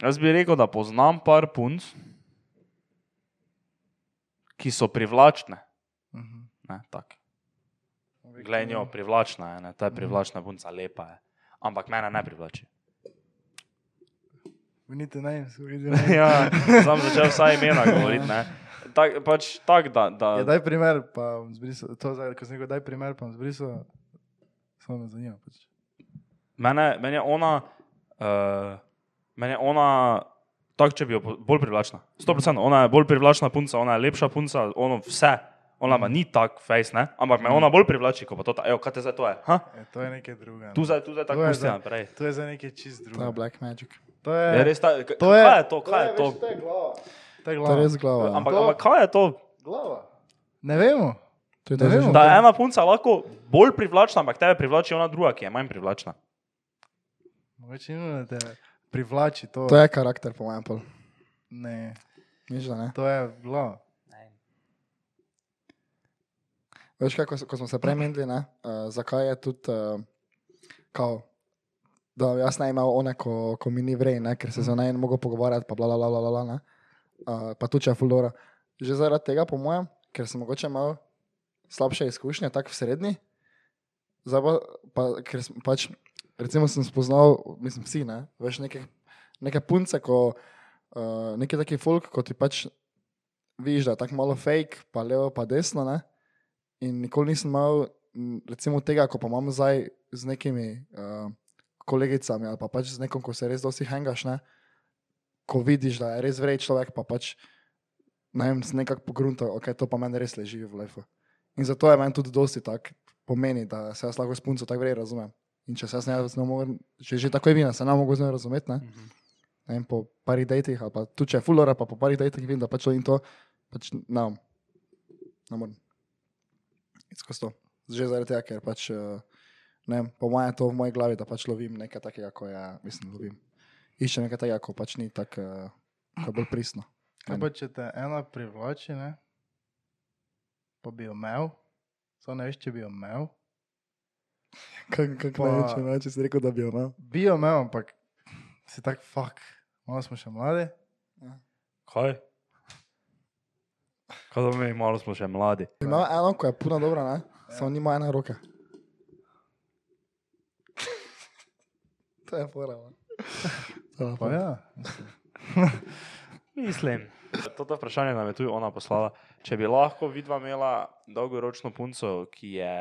jaz bi rekel, da poznam par punc, ki so privlačne.
Mhm.
Ne, tak. Glej njo, privlačna je, ne? ta je privlačna punca, lepa je. Ampak mene ne privlači.
Vinite naj, vidite.
ja, sam začel vsaj imena govoriti. ne. Tak, pač tak, da, da,
Ja, daj primer, pa bom zbrisal. To zdaj, ko sem rekel, daj primer, pa bom zbrisal. Samo me zanima. Pač.
mene, meni je ona, uh, meni je ona tak, če bi jo po- bolj privlačna. 100%, ona je bolj privlačna punca, ona je lepša punca, ono vse. Ona ima ni tak fejs, ne? ampak me
Mhm.
ona bolj privlači, kot pa to, ta- evo, kaj te zdaj to je. Ha?
E, to je nekaj drugega.
Tu zdaj, tu zdaj tako
To je
pusti
zdaj-
naprej.
To je za nekaj čist
To je
drugega.
black magic.
To je,
Je Ja, res, ta, k-
to je-
kaj je to, kaj je to?
To je glava. To je
To je
glava.
res glava. ja.
Ampak,
To-
ampak kaj je to?
glava. Ne vemo.
To je
ne vemo.
že-
Da je ena punca lahko bolj privlačna, ampak tebe privlači ona druga, ki je manj privlačna.
Mogoče ni nujno, da te privlači to.
To je karakter, po mojem, pol.
Ne,
Nič, da ne.
to je glava.
Veš, kako ko smo se prej menili, ne, uh, zakaj je tudi, uh, kao, da jaz naj imel one, ko, ko mi ni vrej, ne, ker se z naj ne mogo pogovarjati, pa bla bla bla bla, bla, bla ne. Uh, pa tudi če je fulora. Že zaradi tega, po mojem, ker sem mogoče imel slabše izkušnje, tako v srednji, zdaj pa, pa ker sem pač, recimo sem spoznal, mislim, vsi, ne, veš, neke, neke punce, ko, uh, neki taki folk, ko ti pač vidiš, da je tako malo fake, pa levo, pa desno, ne. In nikoli nisem imel m, recimo, tega, ko pa imam zdaj z nekimi uh, kolegicami ali pa pač z nekom, ko se res dosti hengaš, ne? ko vidiš, da je res vrej človek, pa pač ne vem, se nekako pogrunta, ok, to pa meni res leži v lefu. In zato je meni tudi dosti tako pomeni, da se jaz lahko s punco tako vrej razumem. In če se jaz ne, ne morem, če že tako je vina, se ne mogu z njo razumeti, ne?
Mhm.
ne vem, po parih dejtih ali pa tu če je fulora, pa po parih dejtih vidim, da pač to in to, pač ne, vem. ne morem. Skozi to. Že zaradi tega, ker pač, eh, ne vem, po mojem je to v moji glavi, da pač lovim nekaj takega, ko je, mislim, lovim. Iščem nekaj takega, ko pač ni tako, eh, ko je bolj pristno.
Kaj pa če te ena privlači, ne? pa bi jo imel, samo ne veš, če bi jo imel.
Kako kak
Pa-
naj rečem, ne, če si rekel, da bi jo no? imel?
Bi jo imel, ampak si tak fuk, malo smo še mladi.
Kaj? Kaj da mi malo smo še mladi?
Imel No, eno, ko je puna dobra, ne? Samo nima ena roka. to je fora, no. ne? To je
Pa
fora.
ja,
Mislim.
To Hm. vprašanje nam je tudi ona poslala. Če bi lahko vidva imela dolgoročno punco, ki je.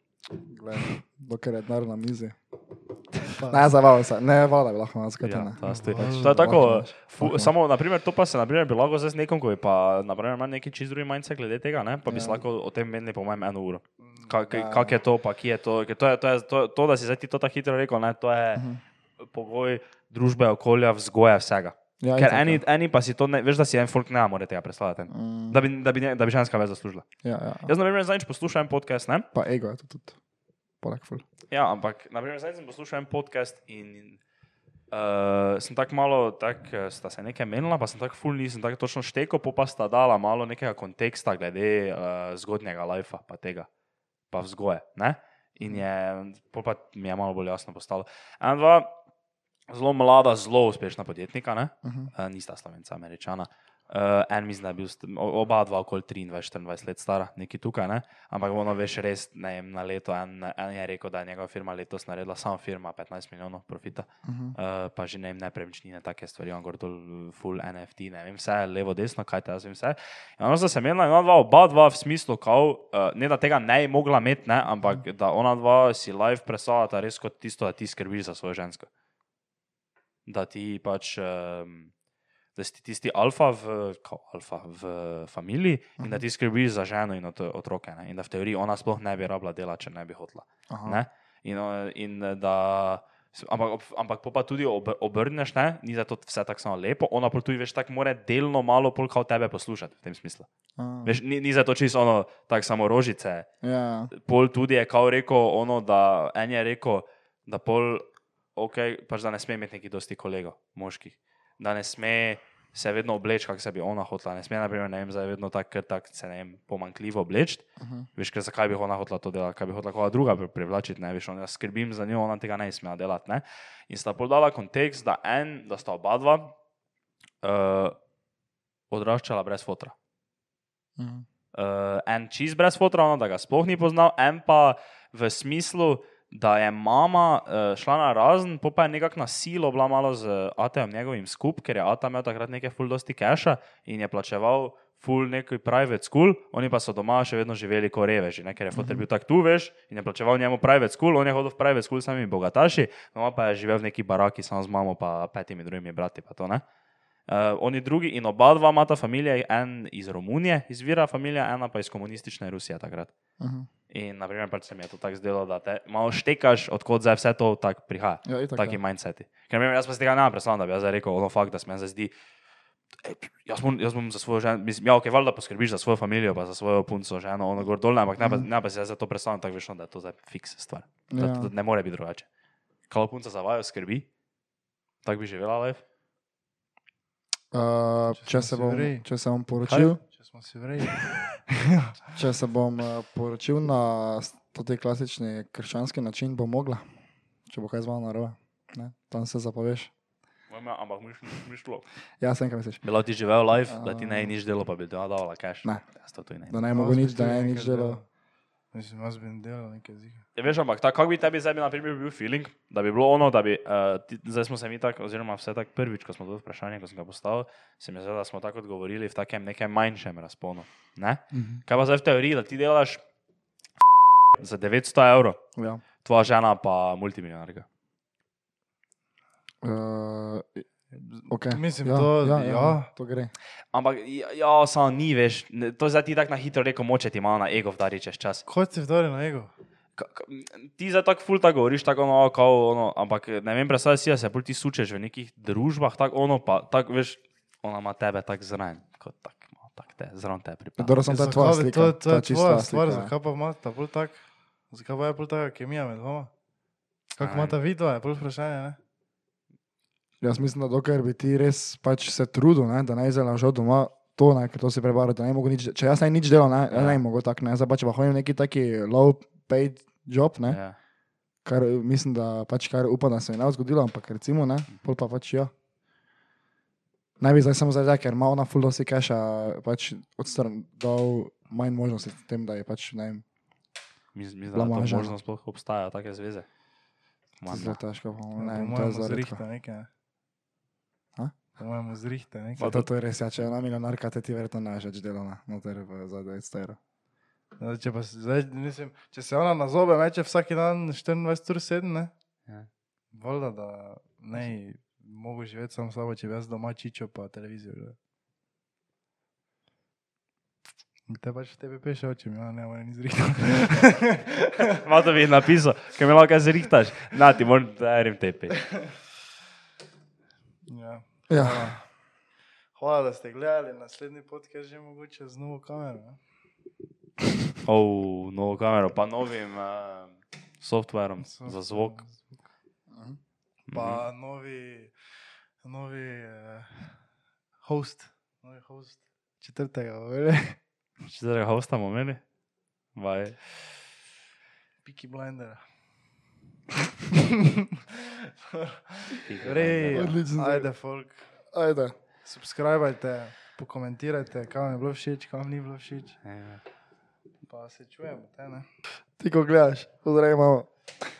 Glej, no. Dokler je denar na mizi.
Pa-
Ne, zabavaj se, ne, voda bi lahko nas kaj
Ja,
tam.
to, stoji.
Pač
Valjda.
to je tako. eh,
Valjda.
Fu, samo, naprimer, to pa se naprimer, bi lahko zdaj z nekom, ko bi pa naprimer, imel neki čist drugi manjce glede tega, ne? pa bi
Ja.
ja. se lahko o tem menili, po mojem, eno uro. Kako
Ja.
kak je to, pa kje je to? Ker To, je, to, je, to, to da si zdaj ti to tako hitro rekel, ne? to je pogoj družbe, okolja, vzgoja, vsega.
Ja,
Ker
itak,
eni,
ja.
eni pa si to ne, veš, da si en folk ne more tega predstavljati. ne.
Mm,
Da bi, da bi, ne- da bi ženska več zaslužila.
ja, ja.
Jaz, na primer, zadnjič poslušam en podcast, ne?
Pa ego je to tudi. Poleg ful.
Ja, ampak, na primer, zdaj sem poslušal en podcast in uh, sem tako malo, tak, eh, sta se nekaj menila, pa sem tako ful nisem tako točno štekel, pol pa sta dala malo nekega konteksta glede uh, zgodnjega lajfa, pa tega, pa vzgoje. Ne? In je, pol pa mi je malo bolj jasno postalo. En, dva, zelo mlada, zelo uspešna podjetnika, ne?
Uh -huh.
uh, nista slovenca, američana. Uh, en mislim, da je bil st- o- oba dva okoli 23-24 let stara, neki tukaj, ne? ampak ono veš res, ne vem, na leto. En, en je rekel, da je njegova firma letos naredila samo firma 15 milijonov profita,
Uh
Mhm.
-huh.
uh, pa že ne vem, nepremičnine, take stvari, on gor dol, eh, full NFT, ne vem, vse levo, desno, kaj te jaz vem, vse. In ono sta se menila, in ona dva, oba dva v smislu, kao, uh, ne da tega ne bi mogla imeti, ne, ampak da ona dva si live presajata res kot tisto, da ti skrbiš za svojo žensko da ti pač. Um, Da si ti tisti alfa v, kao alfa v familiji in da ti skrbiš za ženo in oto- otroke. Ne? In da v teoriji ona sploh ne bi rabila dela, če ne bi hotla. Ne? In, eh, in eh, da, s- ampak, ob- ampak pol pa tudi ob, obrneš, ne? ni zato vse tako samo lepo, ona pa tudi veš, tako more delno malo polka od tebe poslušati v tem smislu. Veš, ni, ni zato čisto ono, tako samo rožice,
Ja,
pol tudi je kao rekel, ono, da en je rekel, da pol, okay, pač da ne sme imeti neki dosti kolegov, moških, da ne sme se vedno obleči, kako se bi ona hotla, ne sme, naprimer, ne vem, zdaj vedno tako, tak, se ne vem, pomankljivo obleči. Uh
Mhm.
-huh. Veš, ker zakaj bi ona hotla to delati, kaj bi hotla koga druga pri- privlačiti, ne veš, on, jaz skrbim za njo, ona tega ne bi smela delati. Ne? In sta pol dala kontekst, da en, da sta oba dva uh, odraščala brez fotra.
Mhm.
Uh, en čist brez fotorona, da ga sploh ni poznal, en pa v smislu, da je mama uh, šla na razen, pol pa je nekako na silo bila malo z Atejem njegovim skup, ker je Ata imel takrat nekaj full dosti keša in je plačeval full neki private school, oni pa so doma še vedno živeli kot reveži, ne? ker je fotor bil tak tu, veš, in je plačeval njemu private school, on je hodil v private school s samimi bogataši, mama pa je živel v neki baraki samo z mamo pa petimi drugimi brati pa to, ne? Uh, oni drugi in oba dva imata familije, en iz Romunije, izvira familija, ena pa iz komunistične Rusije takrat.
Mhm.
In, na primer, pač se mi je to tako zdelo, da te malo štekaš, odkot zdaj vse to tako prihaja,
ja itak.
taki
ja.
mindseti. Ker, na primer, jaz pa se tega ne predstavljam, da bi jaz zdaj rekel, ono fakt, da se mi zdaj zdi ej, Jaz bom, jaz bom za svojo ženo, mislim, ja, ok, valjda poskrbiš za svojo družino, pa za svojo punco, ženo, ono gor dol, ampak ne pa, ne pa si jaz za to predstavljam tako veš, no, da je to zdaj fiks stvar. Da,
Ja.
ja. da ne more biti drugače. Kaj punca za vajo skrbi, tako bi živela life.
Uh, če,
Če smo
se
si
bom,
vrej.
če se bom poročil,
Če smo si vreli.
če se bom eh, poročil na s- to te klasični krščanski način, bom mogla, če bo kaj zvalo narobe. Ne? Tam se zapoveš.
Mama, ja, ampak mi šlo.
Ja, sem kaj misliš.
Bila ti živel life, da ti ne bi nič delo, pa bi ti davala kaš.
Ne. No.
Jaz to tudi ne.
Da ne
No,
mogo nič, da ne nič delo.
Mislim, jaz bi delal nekaj zige.
Ja, veš, ampak tako bi tebi zdaj na primer bil feeling, da bi bilo ono, da bi, uh, ti, zdaj smo se mi tako, oziroma vse tako prvič, ko smo to vprašanje, ko sem ga postavil, se mi zdi, da smo tako odgovorili v takem nekem manjšem razponu. Ne?
Mhm.
Kaj pa zdaj v teoriji, da ti delaš za 900 evrov,
Ja.
tvoja žena pa multimilijonarka.
Uh, okay.
Mislim, to-
ja, ja,
ja.
to gre.
Ampak ja, ja samo ni, veš, ne, to je zdaj ti tako na hitro reko, moče ti malo na ego vdari čez čas.
Kot si vdoril na ego.
Ka- ka- m, Ti za tako ful tako govoriš, tako ono, kao, ono, ampak eh, ne vem, predstavljaj si, da se pol ti sučeš v nekih družbah, tako ono, pa tako veš, ona ima tebe tako zraven, kot tako, malo tako te, zraven te pripada.
Dobro, sem ta tvoja slika.
To, to je
čista
tvoja stvar,
slika, ja.
zakaj pa ima ta bolj tak, zakaj pa je bolj taka kemija med vama? Kako
Aj.
ima ta vidva, je bolj vprašanje, ne?
Jaz mislim, da dokler bi ti res pač se trudil, ne, da ne izelaš od doma, to ne, ker to si prebral, da ne mogo nič, če jaz naj nič delam, ne, ja.
Ja.
ne mogo tako, ne, zdaj pa če pa hodim v neki taki low paid job, ne, ja.
Ja.
kar eh, mislim, da pač kar upam, da se mi ne bo zgodilo, ampak recimo, ne, pol pa pač ja. Naj bi zdaj samo zdaj, ja, ker ima ona full dosi cache, pač odstran dal manj možnosti s tem, da je pač, ne vem,
Mis- Mislim, da to
Blamaža.
možnost sploh obstaja, take zveze. Manj,
zelo
ne.
težko, pa
Ne,
ne vem, to je
moramo
zelo redko.
zrihta nekaj, ne?
A?
Da moramo zrihta nekaj.
Pa to, to je res, ja, če je ona milijonarka, te ti verjetno ne več delala, noter v zadnjem steru.
Zdaj, No, Če, pa, se- zdaj, mislim, če se ona na zobe meče vsak dan 24 ur 7, ne?
Ja.
Voda, da ne, mogo živeti sam slabo, če bi jaz doma čičo pa televizijo. gledal. In Te pač tebe peše oči, mi ona ne more ni zrihtati.
Malo to bi napisal, ker me lahko zrihtaš. Na ti, moram, da erim tepi.
ja.
Ja.
Hvala, da ste gledali naslednji podcast, že mogoče z novo kamero. ne.
Oh, novo kamero, pa novim uh, softverom
So- Mhm.
za zvok.
Pa novi, novi uh, host, novi host četrtega, vele.
Če zdaj hostamo, meni? Vaj.
Piki blinder.
Odlično.
Ajde, folk.
Ajde.
Subskrbajte, pokomentirajte, kam vam je bilo všeč, kam vam ni bilo všeč.
Ja.
Pa se čujemo, te ne.
Ti ko gledaš, pozdravimo.